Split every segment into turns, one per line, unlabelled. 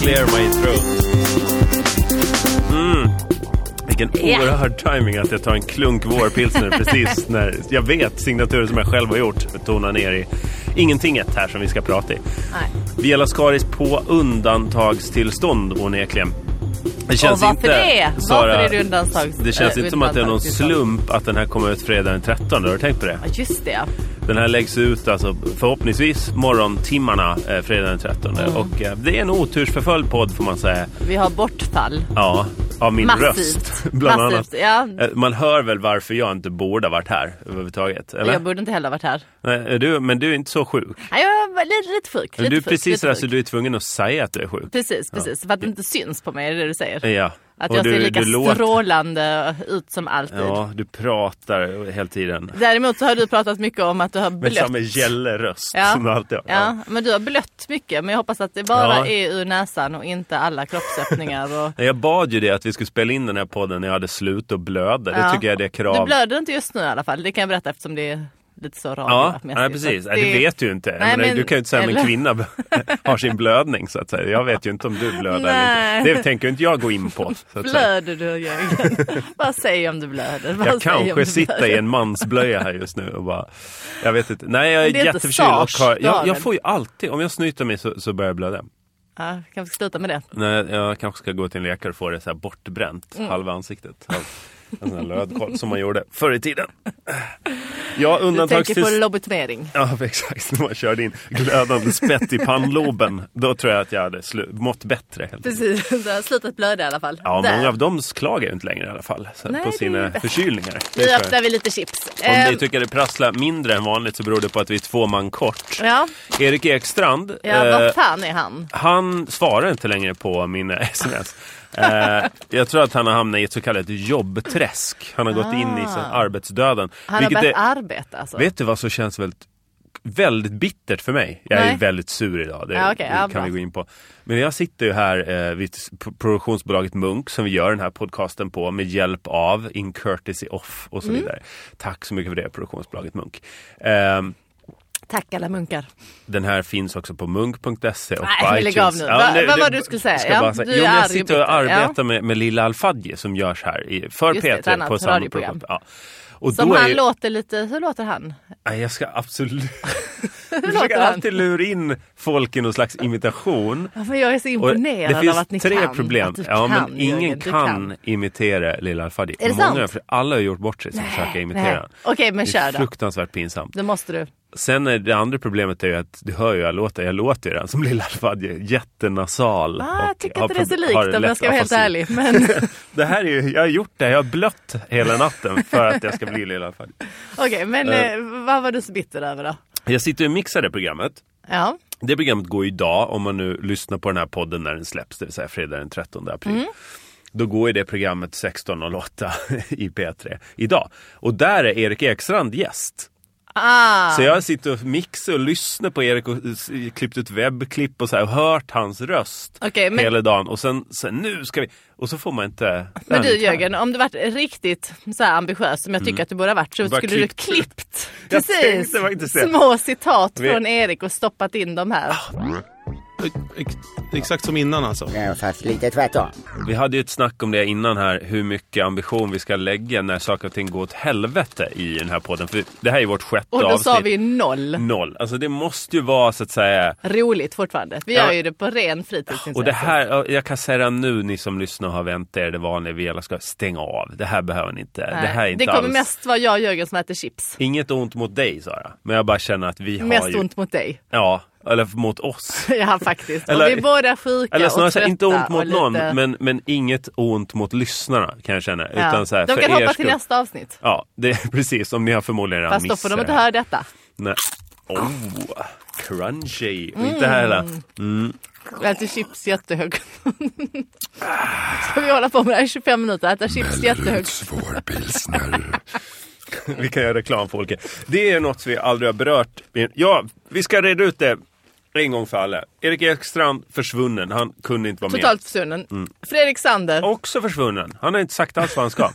clear my throat. Mm. Vilken oerhörd timing att jag tar en klunk vårpilsner precis när jag vet signaturen som jag själv har gjort tonar ner i ingentinget här som vi ska prata i.
Nej.
Viola Skaris på undantagstillstånd onekligen. Det känns
och varför
inte,
det?
Sara,
varför är det undantags...
det känns
eh,
inte som att det är någon
undantagstillstånd?
slump att den här kommer ut fredag den 13. Har du tänkt på det?
Ja, just det.
Den här läggs ut alltså förhoppningsvis morgontimmarna eh, fredag den 13.
Mm.
Och eh, det är en otursförföljd podd får man säga.
Vi har bortfall.
Ja, av min
Massivt.
röst. Bland
Massivt,
annat.
ja.
Eh, Man hör väl varför jag inte borde ha varit här överhuvudtaget? Eller?
Jag borde inte heller varit här.
Nej, är du, men du är inte så sjuk.
Nej, jag var lite, lite sjuk.
Men
lite
du är
sjuk,
precis
lite
sådär så
sjuk.
du är tvungen att säga att du är sjuk.
Precis, precis. För att det inte syns på mig, är det du säger.
Ja.
Att
Och
jag
du,
ser lika
du låter-
strålande ut som alltid.
Ja, du pratar hela tiden.
Däremot så har du pratat mycket om att du har
Med
blött.
samma gälleröst
Ja.
som du alltid har.
Ja, men du har blött mycket. Men jag hoppas att det bara
Ja.
är ur näsan och inte alla kroppsöppningar. Och...
Nej, Jag bad ju det att vi skulle spela in den här podden när jag hade slut och blöda. Det
Ja.
tycker jag är det krav.
Du blöder inte just nu i alla fall. Det kan jag berätta eftersom det är lite så
Ja,
radiomässigt.
nej, precis.
Så
Det...
att
det vet du ju inte. Jag
Nej,
menar,
men-
du kan ju inte säga om en
eller-
kvinna be- har sin blödning så att säga. Jag vet ju inte om du blöder eller
Nej.
inte. Det tänker inte jag gå in på. Så att säga.
Blöder du Jörgen? Vad säg om du blöder? Vad
Jag
säg om du
kanske sitter i
blöder?
en mansblöja här just nu och bara, jag vet inte. Nej, jag
Men det är
är
inte
jätteförkyld och
sars
har,
du har
jag, jag
väl?
får ju alltid, om jag snyter mig så, så börjar jag blöda.
Ja, kanske ska sluta med det.
Nej, jag kanske ska gå till en läkare och få det så här bortbränt,
Mm.
halva ansiktet. av En sån här lödkoll som man gjorde förr i tiden. Ja,
Du tänker på
undantagstills...
lobotomering.
Ja, exakt. När man körde in glödande spett i pannloben. Då tror jag att jag hade slu- mått bättre. Helt. enkelt.
Precis, du har slutat blöda i alla fall.
Ja,
Där.
många av dem klagar ju inte längre i alla fall. Så
Nej,
på
det är
sina
ju bättre.
förkylningar. Det tror
Nu
jag.
öppnar vi lite chips.
Om
Eh,
ni tycker det prasslar mindre än vanligt så beror det på att vi är två man kort.
ja,
Erik Ekstrand,
ja
eh,
vad fan är han?
han svarar inte längre på mina sms. Eh, jag tror att han har hamnat i ett så kallat jobbträsk. Han har gått in i så här arbetsdöden.
Ah. Han har
vilket
börjat
är-
arbeta alltså.
Vet du vad som känns väldigt, väldigt bittert för mig? Jag är
Nej.
väldigt sur idag, det,
Ja, okej. Ja,
det
bra.
kan vi gå in på. Men jag sitter ju här eh, vid s- pro- produktionsbolaget Munk som vi gör den här podcasten på med hjälp av In Courtesy Off och så
Mm.
vidare. Tack så mycket för det produktionsbolaget Munk. Ehm,
Tack alla munkar.
den här finns också på munk.se och
Nej,
på
men lägg
iTunes.
av nu. Va- vad var det du skulle säga?
Ska
Ja,
bara säga.
du är
Jo, men
arg
jag
och
sitter och
bitter.
arbetar med, med Lilla Alfadji som görs här i, för
Just det, ett
P3
annat
på samma
radioprogram.
produktion. Ja. Och
Som
då är
han
ju-
låter lite, hur låter han?
Nej, jag ska absolut... Du
låter
försöker
han?
alltid lura in folk i någon slags imitation.
Ja, men jag är så
Och
imponerad
det finns
av att ni
tre
kan.
problem.
Att du
Ja,
kan,
men ingen
Jörgen, du
kan, imitera Lilla Alfadji.
Är det
Många,
sant?
för Alla har gjort bort sig som försöker imitera
Nej.
honom.
Okej, men
Det
kör
är
då.
fruktansvärt pinsamt.
Det måste du.
Sen är det andra problemet är ju att du hör ju hur jag låter. Jag låter ju den som Lilla Alfadji. Jättenasal.
Ah, jag tycker
har
inte det är så
prob- har
likt om jag
lätt
ska vara helt
afasi.
ärlig. Men
Det här är ju, jag har gjort det. Jag har blött hela natten för att jag ska bli Lilla Alfadji.
okej, men eh, vad var du så bitter över då?
Jag sitter och mixar det programmet.
Ja,
Det programmet går idag, om man nu lyssnar på den här podden när den släpps, det vill säga fredag den 13 april.
Mm.
Då går ju det programmet 16.08 i P3 idag. Och där är Erik Ekstrand gäst.
ah,
Så jag sitter och mixar och lyssnar på Erik och s- klippt ut webbklipp och så här, och hört hans röst
Okej, men-
hela dagen. Och sen, sen nu ska vi... Och så får man inte...
men du
inte här.
Jörgen, om du varit riktigt så här ambitiös som jag tycker att du borde ha varit så
Mm. Bara
skulle du
klippt.
klippt
Jag tänkte
precis
faktiskt det.
små citat
Vi- Ah,
från Erik och stoppat in dem här.
Ex- Exakt som innan alltså.
Ja, fast lite tvärtom.
Vi hade ju ett snack om det innan här, hur mycket ambition vi ska lägga när saker och ting går åt helvete i den här podden. För det här är ju vårt sjätte
Och då
avsnitt.
sa vi ju noll.
Noll. Alltså det måste ju vara så att säga.
Roligt fortfarande. Vi
Ja.
gör ju det på ren fritidsintresse.
Och det här, ja, jag kan säga det nu ni som lyssnar och har vänt er det vanliga vi alla ska stänga av. Det här behöver ni inte.
Nej,
Det här är inte
det kommer
alls.
mest vara jag och Jörgen som äter chips.
Inget ont mot dig Sara. Men jag bara känner att vi har
Mest
ju...
ont mot dig.
Ja, eller mot oss.
Ja faktiskt.
Eller-
och vi är båda sjuka
Eller snarare
och
så här,
trötta
inte ont mot
och lite...
någon, men, men inget ont mot lyssnarna kan jag känna.
Ja.
Utan så här,
de
för
kan
er
hoppa till
skull.
nästa avsnitt.
Ja, det, precis. Om ni har förmodligen redan
Fast då
missat
får de inte
det här.
höra detta.
Nej. Oh, crunchy. Och
Mm.
Inte här heller.
Jag äter chips jättehögt. Ska vi hålla på med det här i 25 minuter? Äta chips jättehögt.
Melleruds vårpilsner.
Vi kan göra reklam för Olke. Det är något vi aldrig har berört. Ja, vi ska reda ut det en gång för alla. Erik Ekstrand försvunnen. Han kunde inte vara
Totalt försvunnen.
Mm.
Fredrik Sander,
med. Också försvunnen. Han har inte sagt alls vad han ska.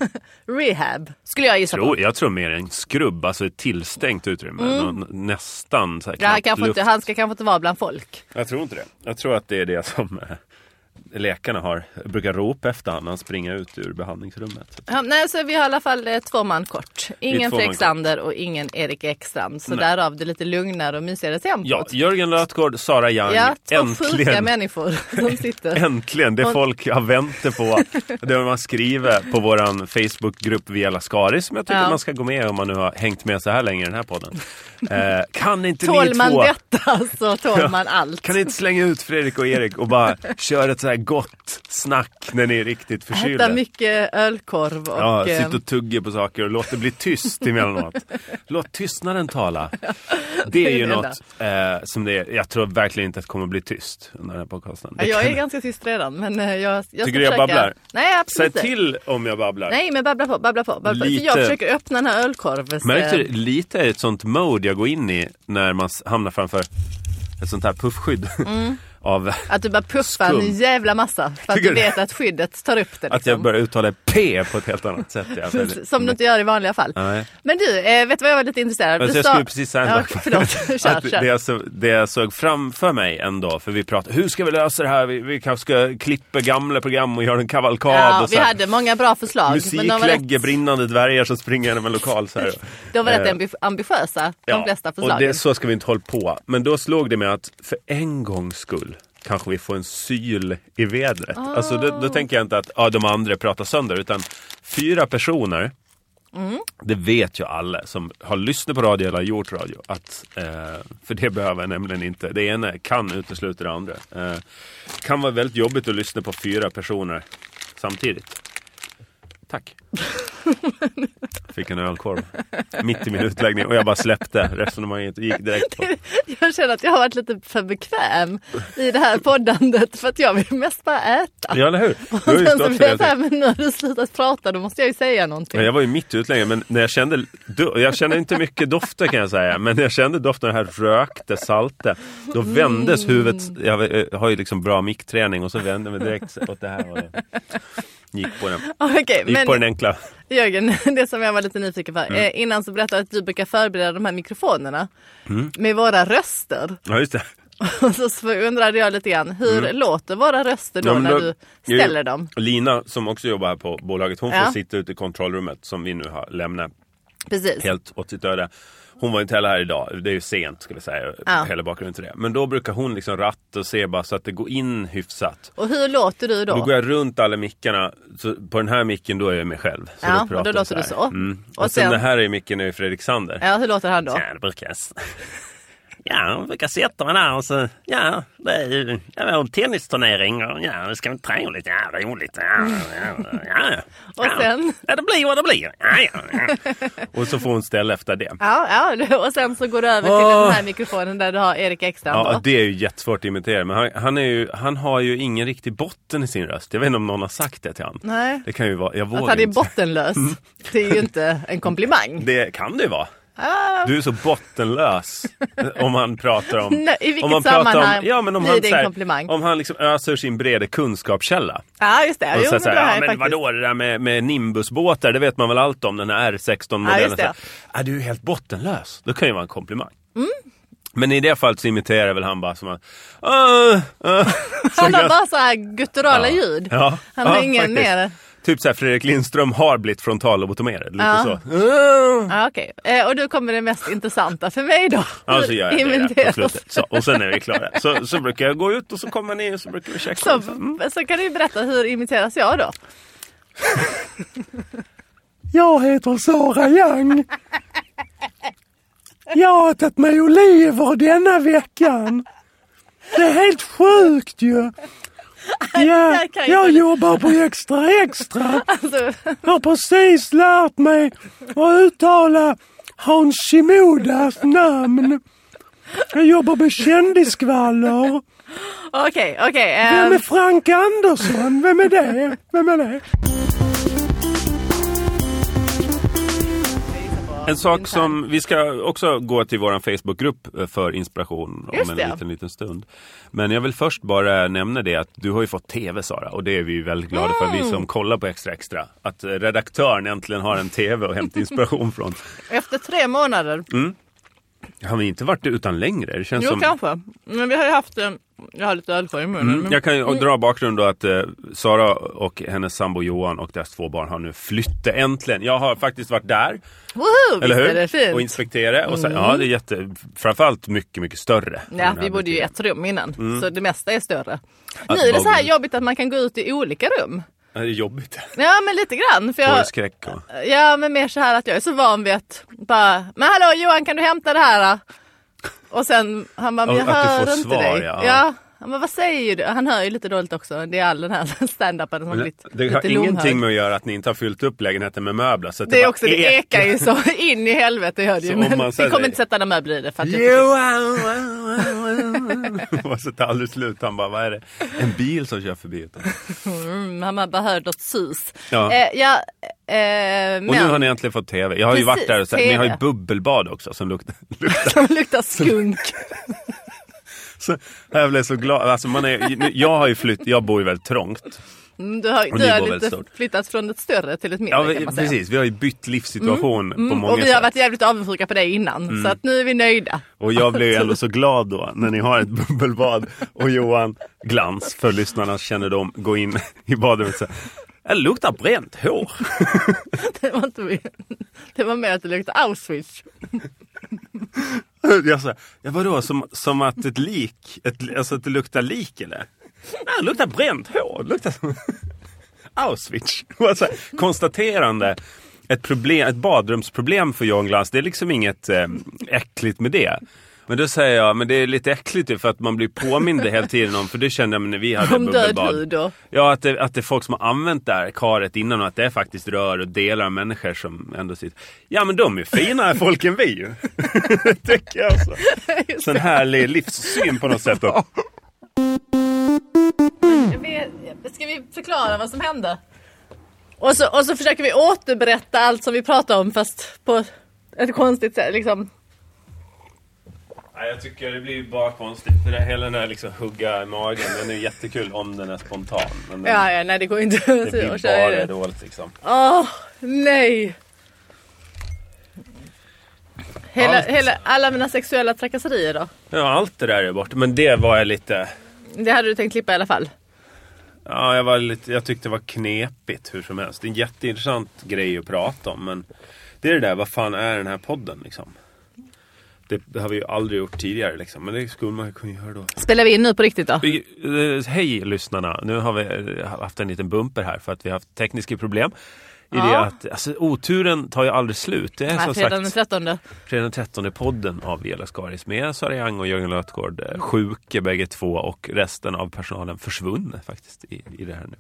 rehab, skulle jag gissa på.
tror, jag tror mer en skrubb, alltså ett tillstängt utrymme. Någon- Nästan så här
Mm. Ja, Han,
knappt
kanske
luft.
inte, han ska kanske inte vara bland folk.
Jag tror inte det. Jag tror att det är det som eh, läkarna har, brukar ropa efter honom när han springer ut ur behandlingsrummet.
Ja, nej, så vi har i alla fall eh, två man kort. Ingen
två man
Fredrik Sander och ingen Erik Ekstrand. Så därav det lite lugnare och mysigare tempot.
Ja, Jörgen Lötgård, Sara Young.
Ja, två sjuka
äntligen!
människor som sitter.
Äntligen! Det folk har väntat på. Det man skriver på vår Facebookgrupp Via Lascaris som jag tycker
Ja.
man ska gå med om man nu har hängt med så här länge i den här podden. Eh, kan inte
Tål
ni
man
två...
detta så tål man allt.
Kan ni inte slänga ut Fredrik och Erik och bara köra ett så här gott snack när ni är riktigt förkylda?
Äta mycket ölkorv och...
Ja,
eh,
sitt och tugga på saker och låt det bli tyst emellanåt. Låt tystnaden tala. Det
det
är ju
är det
något eh, som det är. Jag tror verkligen inte att det kommer bli tyst under den här podcasten.
ja,
Det
jag
kan-
är ganska tyst redan men eh, jag, jag ska
Tycker du jag
försöka...
babblar?
Nej,
Säg
absolut inte.
till om jag babblar.
Nej, men babbla på, babbla på. Babbla. på. För
Lite-
jag försöker öppna den här eh, ölkorven.
Märkte du, lite är ett sånt mode jag går in i när man s- hamnar framför ett sånt här puffskydd.
Mm.
Av
Att du bara puffar
Skum.
en jävla massa. För att
Tycker
du
du?
vet att skyddet tar upp det.
att jag
liksom.
börjar uttala P på ett helt annat sätt. Jag-
Som du inte gör i vanliga fall.
Nej.
Men du, eh, vet du vad jag var lite intresserad av?
Men så
Du
jag
sa-
skulle precis säga en
ja,
sak.
Förlåt, kör,
att
kör.
det, jag så, det jag såg framför mig ändå, för vi pratade, hur ska vi lösa det här? Vi, vi kanske ska klippa gamla program och göra en kavalkad
Ja,
och
vi
så här,
hade många bra förslag. men de var rätt,
musiklägge, brinnande dvärgar som springer genom en lokal så här.
de var rätt
Eh,
ambi- ambitiösa, de flesta
och
förslagen.
det, så ska vi inte hålla på. Men då slog det mig att för en gångs skull kanske vi får en syl i vädret.
Ah.
Alltså då, då tänker jag inte att ja, de andra pratar sönder, utan fyra personer
Mm.
Det vet ju alla som har lyssnat på radio eller har gjort radio. Att, eh, för det behöver jag nämligen inte. Det ena kan utesluta det andra. Eh, kan vara väldigt jobbigt att lyssna på fyra personer samtidigt. Tack. Fick en ölkorv mitt i min utläggning och jag bara släppte resonemanget och gick direkt på.
Jag känner att jag har varit lite för bekväm i det här poddandet för att jag vill mest bara äta.
Ja, eller hur? Du har
Och
ju
sen så
stått
blir
för
jag
det.
såhär, men nu har du slutat prata, då måste jag ju säga någonting.
Ja, jag var ju mitt i utläggningen, men när jag kände, du- jag kände inte mycket dofter kan jag säga, men när jag kände doften av det här rökte, salte, då vändes huvudet, jag eh, har ju liksom bra mickträning och så vände jag mig direkt åt det här och gick på den,
Okej,
gick
men
på Mm. den enkla.
Jörgen, det som jag var lite nyfiken på. Eh, innan så berättade jag att du brukar förbereda de här mikrofonerna
Mm.
med våra röster.
Ja just det.
Och så så undrade jag lite grann, hur låter våra röster då
Mm. Ja, men
när
då-
du ställer
Jo,
dem?
Lina som också jobbar här på bolaget, hon får
Ja.
sitta ute i kontrollrummet som vi nu har lämnat
Precis.
helt åt sitt öde. Hon var inte heller här idag, det är ju sent ska vi säga,
Ja.
hela bakgrunden till det. Men då brukar hon liksom ratta och se bara så att det går in hyfsat.
Och hur låter du då?
Då går jag runt alla mickarna. Så på den här micken då är jag mig själv. Så
Ja, och
pratar
då
jag
låter
här.
du så.
Mm. Och,
Och
sen,
sen-
den här är micken är Fredrik Sander.
Ja, hur låter han då?
Ja, det brukar jag. s- Ja, jag brukar sätta mig där och så, ja, det är ju ja, det är en tennisturnering och ja, det ska bli trevligt, ja, det är roligt, ja, ja, ja, ja.
Och sen?
Ja, det blir vad det blir. Ja, ja, ja. Och så får hon ställa efter det.
Ja, ja, och sen så går du över till
Åh.
den här mikrofonen där du har Erik Ekstrand
Ja,
då.
det är ju jättesvårt att imitera. Men han, han, är ju, han har ju ingen riktig botten i sin röst. Jag vet inte om någon har sagt det till han.
Nej.
Det kan ju vara, jag vågar
Att han är
inte. Mm.
bottenlös, det är ju inte en komplimang.
Det kan det ju vara.
Ah.
Du är så bottenlös om han pratar om...
Nej, i vilket
om han
sammanhang
ja, men om
blir
han,
det en
så här-
komplimang?
Om han liksom öser sin breda kunskapskälla.
Ja, just det.
Och
Jo,
så
men
så här,
det har
ja,
jag
men
faktiskt.
vadå det där med, med Nimbusbåtar, det vet man väl allt om, den här
Ja,
R16-modellen.
just
Ja,
det.
ah, du är helt bottenlös. Det kan ju vara en komplimang. Men i det fallet så imiterar väl han bara som att... "Ah, ah."
Han har bara så här gutturala ljud.
Ja,
Han har
ja,
ingen
faktiskt.
mer.
Typ så här, Fredrik Lindström har blivit frontallobotomerad. Lite
Ja.
så.
Ja, okej. Eh, och då kommer det mest intressanta för mig då.
Ja, så gör jag det där på
Inventeras.
slutet. Så, och sen är vi klara. Så, så brukar jag gå ut och så kommer ni och så brukar vi checka.
Så,
och så.
så kan du ju berätta, hur imiteras jag då?
Jag heter Sara Young. Jag har tagit mig oliver denna veckan. Det är helt sjukt ju. Ja,
där kan jag
jag
inte-
jobbar på Extra Extra.
Alltså,
Har precis lärt mig att uttala Hans Shimodas namn. Jag jobbar med kändiskvaller.
Okej, okej.
Vem är
ehm,
Frank Andersson? Vem är det? Vem är det?
En sak som vi ska också gå till vår Facebookgrupp eh, för inspiration om
Just
en
det.
liten, liten stund. Men jag vill först bara nämna det att du har ju fått TV Sara och det är vi ju väldigt glada för,
Mm.
vi som kollar på Extra Extra. Att eh, redaktören äntligen har en TV att hämta inspiration från.
efter tre månader
Han har inte varit det utan längre. Det känns
Jo,
Mm, som...
kanske. Men vi har ju haft en... Jag har lite ölkorg i munnen.
Mm, jag kan ju dra bakgrund då att eh, Sara och hennes sambo Johan och deras två barn har nu flyttat äntligen. Jag har faktiskt varit där,
Woho,
eller
visst är det
hur?
fint?
Och inspekterat. Och sen, Ja, det är jätte, framförallt mycket, mycket större. än
Ja,
den här
vi bodde ju i
butiken.
ett rum innan,
Mm.
så det mesta är större.
Ja,
nu är det
vad
så här
gulligt.
jobbigt att man kan gå ut i olika rum.
Ja, Det är jobbigt.
Ja, men lite grann. För jag,
Torgskräck och...
ja, men mer så här att jag är så van vid att bara, men hallå Johan kan du hämta det här då? Och sen han bara, men
Ja,
jag
att du
hör
får
inte
svar,
dig.
ja.
Ja. Han bara, vad säger du? Han hör ju lite dåligt också. Det är all den här standupen som har blivit
Det har
lite
ingenting
lomhörd.
med att göra att ni inte har fyllt upp lägenheten med möbler. Så att
Det är
bara
också, det
ekar.
ekar ju så in i helvete hör du ju.
Så om
Men
man
vi
säger-
kommer inte sätta några möbler i det. För att jag tycker-
Johan! Och så tar aldrig slut. Han bara, vad är det? En bil som kör förbi. Utan.
Mm, han bara hör något sus.
Ja.
Eh, ja, eh, men
Och nu har ni äntligen fått tv. Jag har ju
Precis,
varit där och sett, ni har ju
TV.
bubbelbad också som luktar. luktar.
som luktar skunk.
Så, jag blev så glad. Alltså man är, nu- jag har ju flytt, jag bor ju väldigt trångt.
Mm, Du har,
Och
du
ni
har
bor
lite
väldigt stort.
flyttat från ett större till ett mindre
Ja,
kan man säga.
precis, vi har ju bytt livssituation på
Mm,
många
och vi har
sätt. Mm.
varit jävligt avundsjuka på dig innan så att nu är vi nöjda.
Och jag blev ju ändå så glad då när ni har ett bubbelbad och Johan Glans för lyssnarnas kännedom gå in i badrummet och säga det luktar bränt hår.
Det var, inte, det var mer att det luktade Auschwitz.
Jag sa, ja, vadå, som, som att ett lik, ett, alltså att det luktar lik eller? Nej, det luktar bränt hår. Det luktar som Auschwitz. Det var så här, konstaterande. Ett, problem, ett badrumsproblem för Johan Glans, det är liksom inget eh, äckligt med det. Men då säger jag, men det är lite äckligt ju för att man blir påmind hela tiden om, för det kände jag när vi hade
Om död
bubbelbad.
hud och...
Ja, att det, att det är folk som har använt det här karet innan och att det är faktiskt rör och delar av människor som ändå sitter. Ja, men de är finare folk än vi ju. det tycker jag alltså. Sån härlig livssyn på något sätt. Då.
Ska vi förklara vad som hände? Och så, och så försöker vi återberätta allt som vi pratade om fast på ett konstigt sätt. Liksom.
Nej, jag tycker det blir bara konstigt. För det, hela den här liksom hugga i magen, den är jättekul om den är spontan. Men den,
Ja, ja, nej det går inte
det
att
blir
köra
bara
det.
dåligt liksom.
Åh, nej! Hela, hela, alla mina sexuella trakasserier då?
Ja, allt det där är borta. Men det var jag lite...
Det hade du tänkt klippa i alla fall?
Ja, jag, var lite, jag tyckte det var knepigt hur som helst. Det är en jätteintressant grej att prata om. Men det är det där, vad fan är den här podden liksom? Det, det har vi ju aldrig gjort tidigare liksom. Men det skulle man kunna göra då.
Spelar vi in nu på riktigt då?
Vi, eh, hej lyssnarna! Nu har vi eh, haft en liten bumper här för att vi har haft tekniska problem. I det
Ja.
att, alltså, oturen tar ju aldrig slut. Det är
Nej,
som
fredagen den
sagt
13.
fredag den 13 podden av Vela Skaris med Sara Young och Jörgen Lötgård. eh, Sjuka bägge två och resten av personalen försvunnen faktiskt i, i det här nu.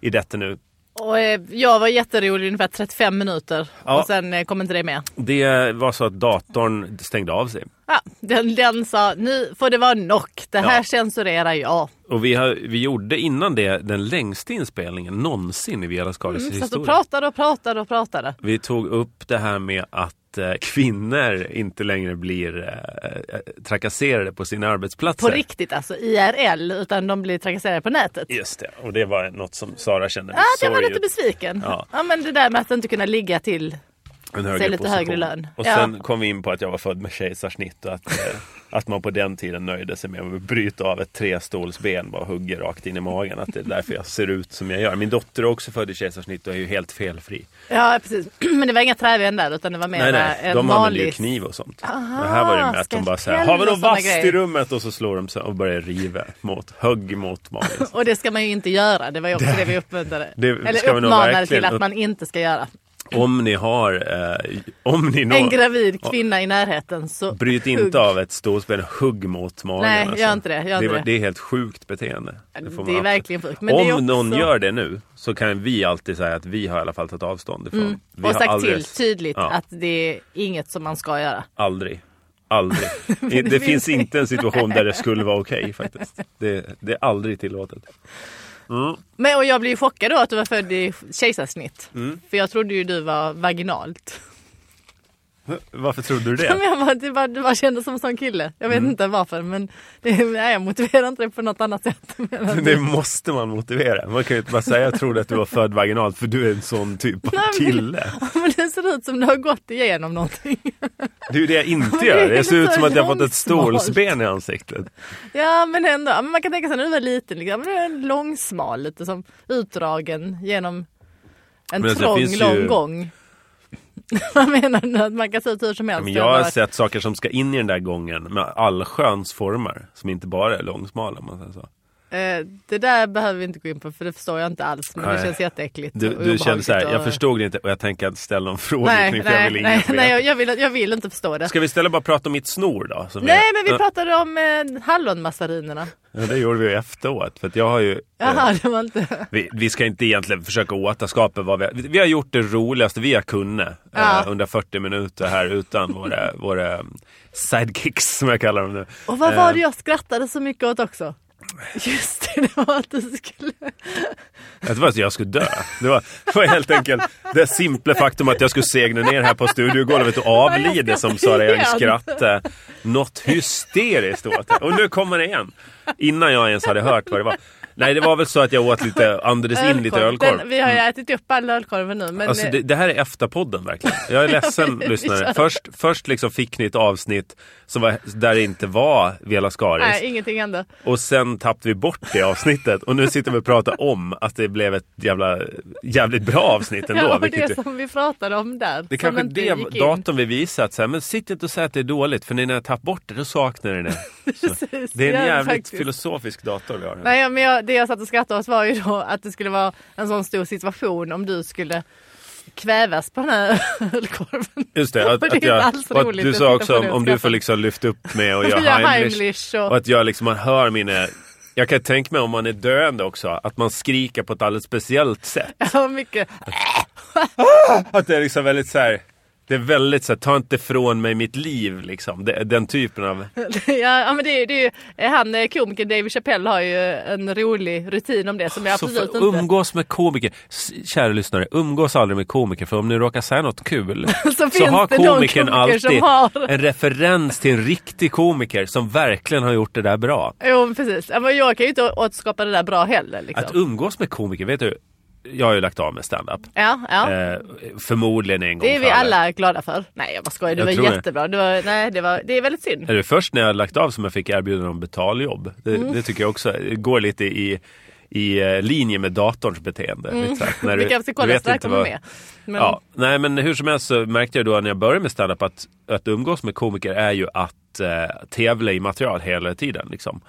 I detta nu.
Och eh, jag var jätterolig i ungefär 35 minuter
Ja.
och sen eh, kom inte det med.
Det var så att datorn stängde av sig.
Ja, den, den sa nu får det vara nog, det här
Ja.
censurerar jag.
Och vi, har, vi gjorde innan det den längsta inspelningen någonsin i Vela Skaris
Så att du
historia.
pratade Mm, och pratade och pratade.
Vi tog upp det här med att eh, kvinnor inte längre blir eh, eh, trakasserade på sina arbetsplatser.
På riktigt alltså, IRL, utan de blir trakasserade på nätet.
Just det, och det var något som Sara kände med
Ja, det var
sorg
lite besviken.
Ja.
Ja. men det där med att inte kunna ligga till.
en högre
sig lite
position.
högre lön.
Och
Ja.
sen kom vi in på att jag var född med kejsarsnitt och att, eh, att man på den tiden nöjde sig med att bryta av ett trestolsben bara hugga rakt in i magen. Att det är därför jag ser ut som jag gör. Min dotter är också född i kejsarsnitt och är ju helt felfri.
Ja, precis. Men det var inga träven där utan det var mer
Nej, nej,
en
de använder ju
vanlig...
kniv och sånt.
Aha,
det här var det med att de
skalpell
bara säger, har vi någon
och såna
vasst i
grejer."
rummet? Och så slår de sig och börjar riva mot, hugg mot magen.
Och det ska man ju inte göra. Det var ju också det, vi uppmuntrade.
det
Eller
ska vi nog
uppmanade
verkligen
till att
upp-
man inte ska göra.
Om ni har, eh, om ni
En
når,
gravid kvinna i närheten så...
bryt
hugg.
inte av ett storspel, hugg mot magen.
Nej, gör inte det, gör inte
var-
det.
det är helt sjukt beteende. Det, får man
Det är
absolut-
verkligen sjukt. Men
Om
det är också...
någon gör det nu så kan vi alltid säga att vi har i alla fall tagit avstånd ifrån. Vi har
Mm. Och sagt
aldrig-
till typ. tydligt
Ja.
att det är inget som man ska göra.
Aldrig. Aldrig. det, finns inte en situation där det skulle vara okej faktiskt. Det, det är aldrig tillåtet. Mm.
Men, och jag blev ju chockad då att du var född i kejsarsnitt.
Mm.
För jag trodde ju du var vaginalt.
Varför trodde du
Ja.
det?
Men jag bara, det bara, det bara kändes som en sån kille. Jag
Mm.
vet inte varför men det, nej, jag motiverar inte det på något annat sätt. Men,
Det måste man motivera. Man kan ju inte bara säga jag trodde att du var född vaginalt för du är en sån typ av
Nej, men-
kille.
men det ser ut som du har gått igenom någonting.
Det är ju det jag inte
Det
gör.
är
Det ser ut som
så
att jag har fått ett
långsmalt.
stålsben i ansiktet.
Ja men ändå, Ja, men man kan tänka sig när du var liten, liksom, men du är en långsmal lite som utdragen genom en
Men sen
trång
finns
lång
ju-
gång. Vad menar du? Att man kan se ut hur som helst?
Men
och
jag har
bara-
sett saker som ska in i den där gången med allsköns former. Som inte bara är långsmala om man säger så.
Eh, det där behöver vi inte gå in på för det förstår jag inte alls men det
Nej.
känns jätteäckligt. och
Du, du
obehagligt
kände så här,
och-
jag förstod det inte och jag tänker inte ställa någon fråga
Nej,
kring det. för Jag
nej,
vill
nej,
inget
nej
nej,
jag, jag, vill, jag vill inte förstå det.
Ska vi istället bara prata om mitt snor då? Som
Nej
är-
men vi pratade om eh, hallonmassarinerna.
Ja, det gjorde vi ju efteråt. För att jag har ju... Eh,
Jaha, det var inte...
vi, vi ska inte egentligen försöka återskapa vad vi har... Vi vi har gjort det roligaste vi har kunnat. eh,
Ja.
Under 40 minuter här utan våra, våra um, sidekicks som jag kallar dem nu.
Och vad
Eh,
var det jag skrattade så mycket åt också? Just det, det var att du skulle...
Att Det var att jag skulle dö. Det var, det var helt enkelt det simpla faktum att jag skulle segna ner här på studiogolvet och avlida som Sara Young skrattade något hysteriskt åt. det. Och nu kommer det igen. Innan jag ens hade hört vad det var. Nej, det var väl så att jag åt lite, andades in lite ölkorv. Mm.
Den, vi har ju ätit upp all ölkorven nu men...
Alltså, det, det här är efterpodden verkligen. Jag är ledsen lyssnare. Först, först liksom fick ni ett avsnitt som var, där det inte var Vela Skaris.
Nej, ingenting hände.
Och sen tappade vi bort det avsnittet och nu sitter vi och pratar om att det blev ett jävla, jävligt bra avsnitt ändå.
Ja, och
vilket
det
ju-
som vi pratade om där.
det
som
kanske
inte
är
gick
det
in.
datorn vi visat, så här, men sitt inte och säg att det är dåligt för när ni har tappat bort det då saknar ni det. Så,
Precis,
det är en
ja,
jävligt
faktiskt.
filosofisk dator vi har.
Nej, ja, men jag, det jag satt och skrattade åt var ju då att det skulle vara en sån stor situation om du skulle kvävas på den här ölkorven.
Just det, att,
Och det är
att, jag,
alls
och att
roligt,
du
jag
sa
tittar
också
på
om,
det och
om du får
skrattar.
liksom lyfta upp mig och
Jag
jag
gör
Heimlich.
Heimlich och...
Och att jag liksom, man hör mina... Jag kan tänka mig om man är döende också, att man skriker på ett alldeles speciellt sätt.
Ja, mycket.
Att det är liksom väldigt så här. Det är väldigt så här, ta inte från mig mitt liv liksom. Det, den typen av...
Ja, ja, men det, är- det är ju, han eh, komikern David Chappelle har ju en rolig rutin om det som jag
Så
absolut
för,
inte...
umgås med komiker. S- Kära lyssnare, umgås aldrig med komiker för om ni råkar säga något kul
Så finns
så har
det någon
komikern
komiker som
alltid
har-
en referens till en riktig komiker som verkligen har gjort det där bra.
Jo, men precis. Ja, men jag kan ju inte å- återskapa det där bra heller. Liksom.
Att umgås med komiker, vet du? Jag har ju lagt av med standup.
Ja, ja.
Eh, förmodligen en gång
Det är vi
för
alla glada för. Nej jag bara skojar, det
Jag tror
var
det.
jättebra. Det var, nej, det, var, det är väldigt synd.
Är det först när jag hade lagt av som jag fick erbjudande om betaljobb? Det,
Mm.
det tycker jag också det går lite i, i eh, linje med datorns beteende. Lite så här, när
Mm. vi kanske ska kolla
vet
så det här
inte
kommer
vad-
med. Men,
Ja, nej men hur som helst så märkte jag då när jag började med standup att, att umgås med komiker är ju att eh, tävla i material hela tiden. Liksom.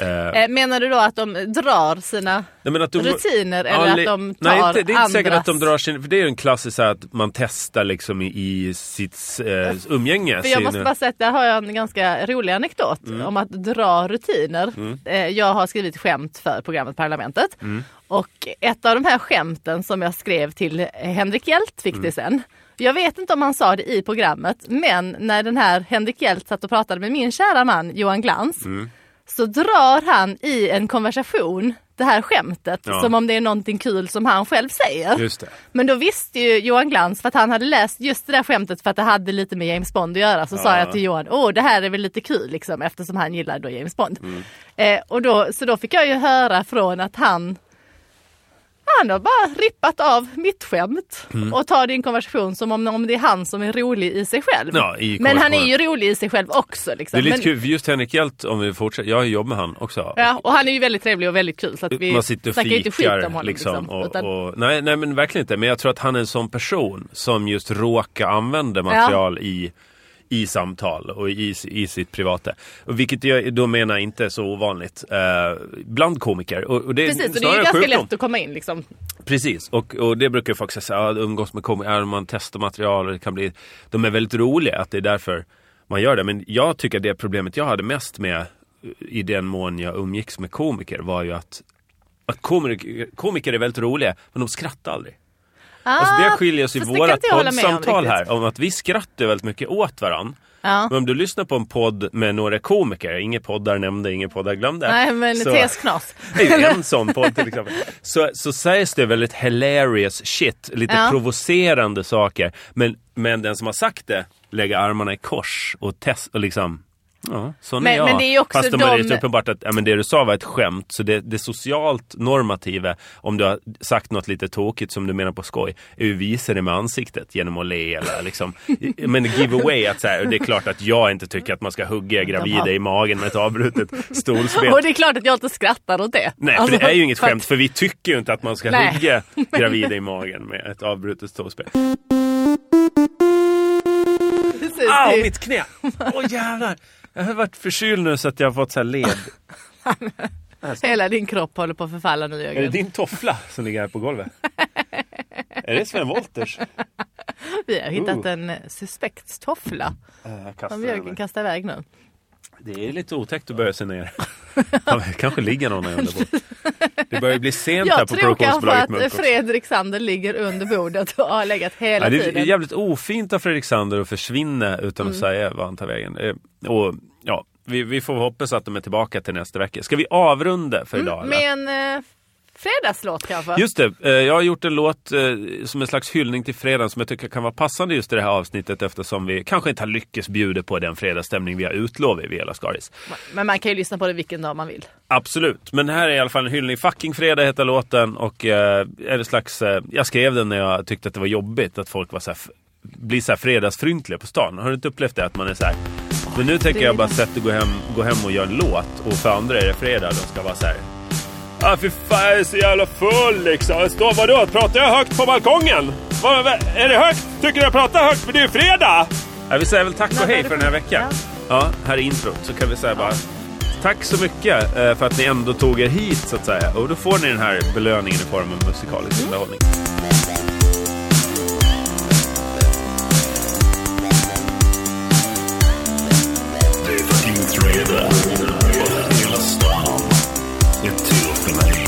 Eh,
eh, menar du då att de drar sina...
nej, men att umgå-
rutiner eller att
li-
de tar
Nej, inte, det är inte säkert
andras-
att de drar sin... För det är ju en klassisk så här, att man testar liksom i, i sitt eh, umgänge.
För jag
sin-
måste bara säga att där har jag en ganska rolig anekdot
Mm.
om att dra rutiner. Eh, Jag har skrivit skämt för programmet Parlamentet.
Mm.
Och ett av de här skämten som jag skrev till eh, Henrik Hjelt fick
Mm.
det sen. Jag vet inte om han sa det i programmet men när den här Henrik Hjelt satt och pratade med min kära man Johan Glans
Mm.
så drar han i en konversation det här skämtet
Ja.
som om det är någonting kul som han själv säger.
Just det.
Men då visste ju Johan Glans för att han hade läst just det där skämtet för att det hade lite med James Bond att göra. Så sa jag till Johan, åh det här är väl lite kul liksom eftersom han gillar då James Bond.
Mm.
Eh, och då, så då fick jag ju höra från att han han har bara rippat av mitt skämt
Mm.
och tar din konversation som om, om det är han som är rolig i sig själv.
Ja, i
Men han är
konversationen.
ju rolig i sig själv också. Liksom.
Det är lite
Men,
kul, för just Henrik Hjelt, om vi fortsätter, jag har ju jobb med han också.
Ja, och han är ju väldigt trevlig och väldigt kul så att vi
man sitter och
snackar ju inte skit om
fikar
honom.
liksom, och,
utan-
och, nej, nej men verkligen inte. Men jag tror att han är en sån person som just råkar använda material i, i samtal och i, i sitt privata. Och vilket jag då menar inte är så ovanligt eh, bland komiker. Och, och det, är
Precis, och det är
snarare
ju
en
ganska
sjukdom.
lätt att komma in liksom.
Precis, och, och det brukar ju folk säga, ja, umgås med komiker, ja, man testar material och det kan bli... De är väldigt roliga, att det är därför man gör det. Men jag tycker det problemet jag hade mest med i den mån jag umgicks med komiker var ju att, att komiker, komiker är väldigt roliga, men de skrattar aldrig. Alltså det skiljer sig i
Ah, fast det kan
våra
inte jag hålla med om
poddsamtal
riktigt.
här, Mm. om att vi skrattar väldigt mycket åt varandra.
Ja.
Men om du lyssnar på en podd med några komiker, inga poddar nämnde, inga poddar glömde.
Nej men
så-
tesknas.
det är ju en sån podd till exempel. Så, så sägs det väldigt hilarious shit, lite
Ja.
provocerande saker. Men, men den som har sagt det lägger armarna i kors och, test, och liksom Ja, sån
Men-
är jag.
men det är ju också
Fast de...
de-
är rätt uppenbart att ja, men det du sa var ett skämt. Så det, det socialt normativa, om du har sagt något lite tokigt som du menar på skoj, är ju visa det med ansiktet genom att le eller liksom. men giveaway att så här, det är klart att jag inte tycker att man ska hugga gravida i magen med ett avbrutet stolsben.
Och det är klart att jag inte skrattar åt det.
Nej, för
Alltså,
det är ju inget
för att-
skämt, för vi tycker ju inte att man ska
Nej.
hugga gravida i magen med ett avbrutet stolsben.
Precis,
Au,
det är-
mitt knä! Åh jävlar! Jag har varit förkyld nu så att jag har fått så här led.
Hela din kropp håller på att förfalla nu
Är det
Jörgen.
din toffla som ligger här på golvet? är det Sven Wollters?
Vi har hittat
Oh.
en eh, suspekt toffla
Jag
som
kastar
Jörgen
över.
kastar iväg nu.
Det är lite otäckt att böja sig ner. Ja, men det kanske ligger någon här under bordet. Det börjar ju bli sent här
Jag
på
tror kanske
produktionsbolaget
att
Munk också.
Fredrik Sander ligger under bordet och har legat hela
Ja, det är
tiden. Mm.
jävligt ofint av Fredrik Sander att försvinna utan att säga vad han tar vägen. Eh, Och, ja, vi, vi får hoppas att de är tillbaka till nästa vecka. Ska vi avrunda för idag? eller?
Mm, Med en eh, fredagslåt kanske?
Just det, eh, jag har gjort en låt eh, som en slags hyllning till fredagen som jag tycker kan vara passande just i det här avsnittet eftersom vi kanske inte har lyckats bjuda på den fredagsstämning vi har utlovat i Viola Skaris.
Men man kan ju lyssna på det vilken dag man vill.
Absolut, men här är i alla fall en hyllning. Fucking fredag heter låten och eh, är det slags, eh, jag skrev den när jag tyckte att det var jobbigt att folk var så här, f- blir så här fredagsfryntliga på stan. Har du inte upplevt det? Att man är så här. Men nu tänker jag bara sätta gå hem, gå hem och göra en låt och för andra är det fredag. De ska vara så här. Ah, fy fan, jag är så jävla full liksom. Jag Står, vadå, pratar jag högt på balkongen? Vad, vad- är det högt? Tycker du jag pratar högt? För det är ju fredag! Ja, vi säger väl tack och hej för den här veckan. Ja, här är introt. Så kan vi säga bara tack så mycket eh, för att ni ändå tog er hit så att säga. Och då får ni den här belöningen i form av musikalisk underhållning.
Det är fucking fredag. Hela stan är till för mig.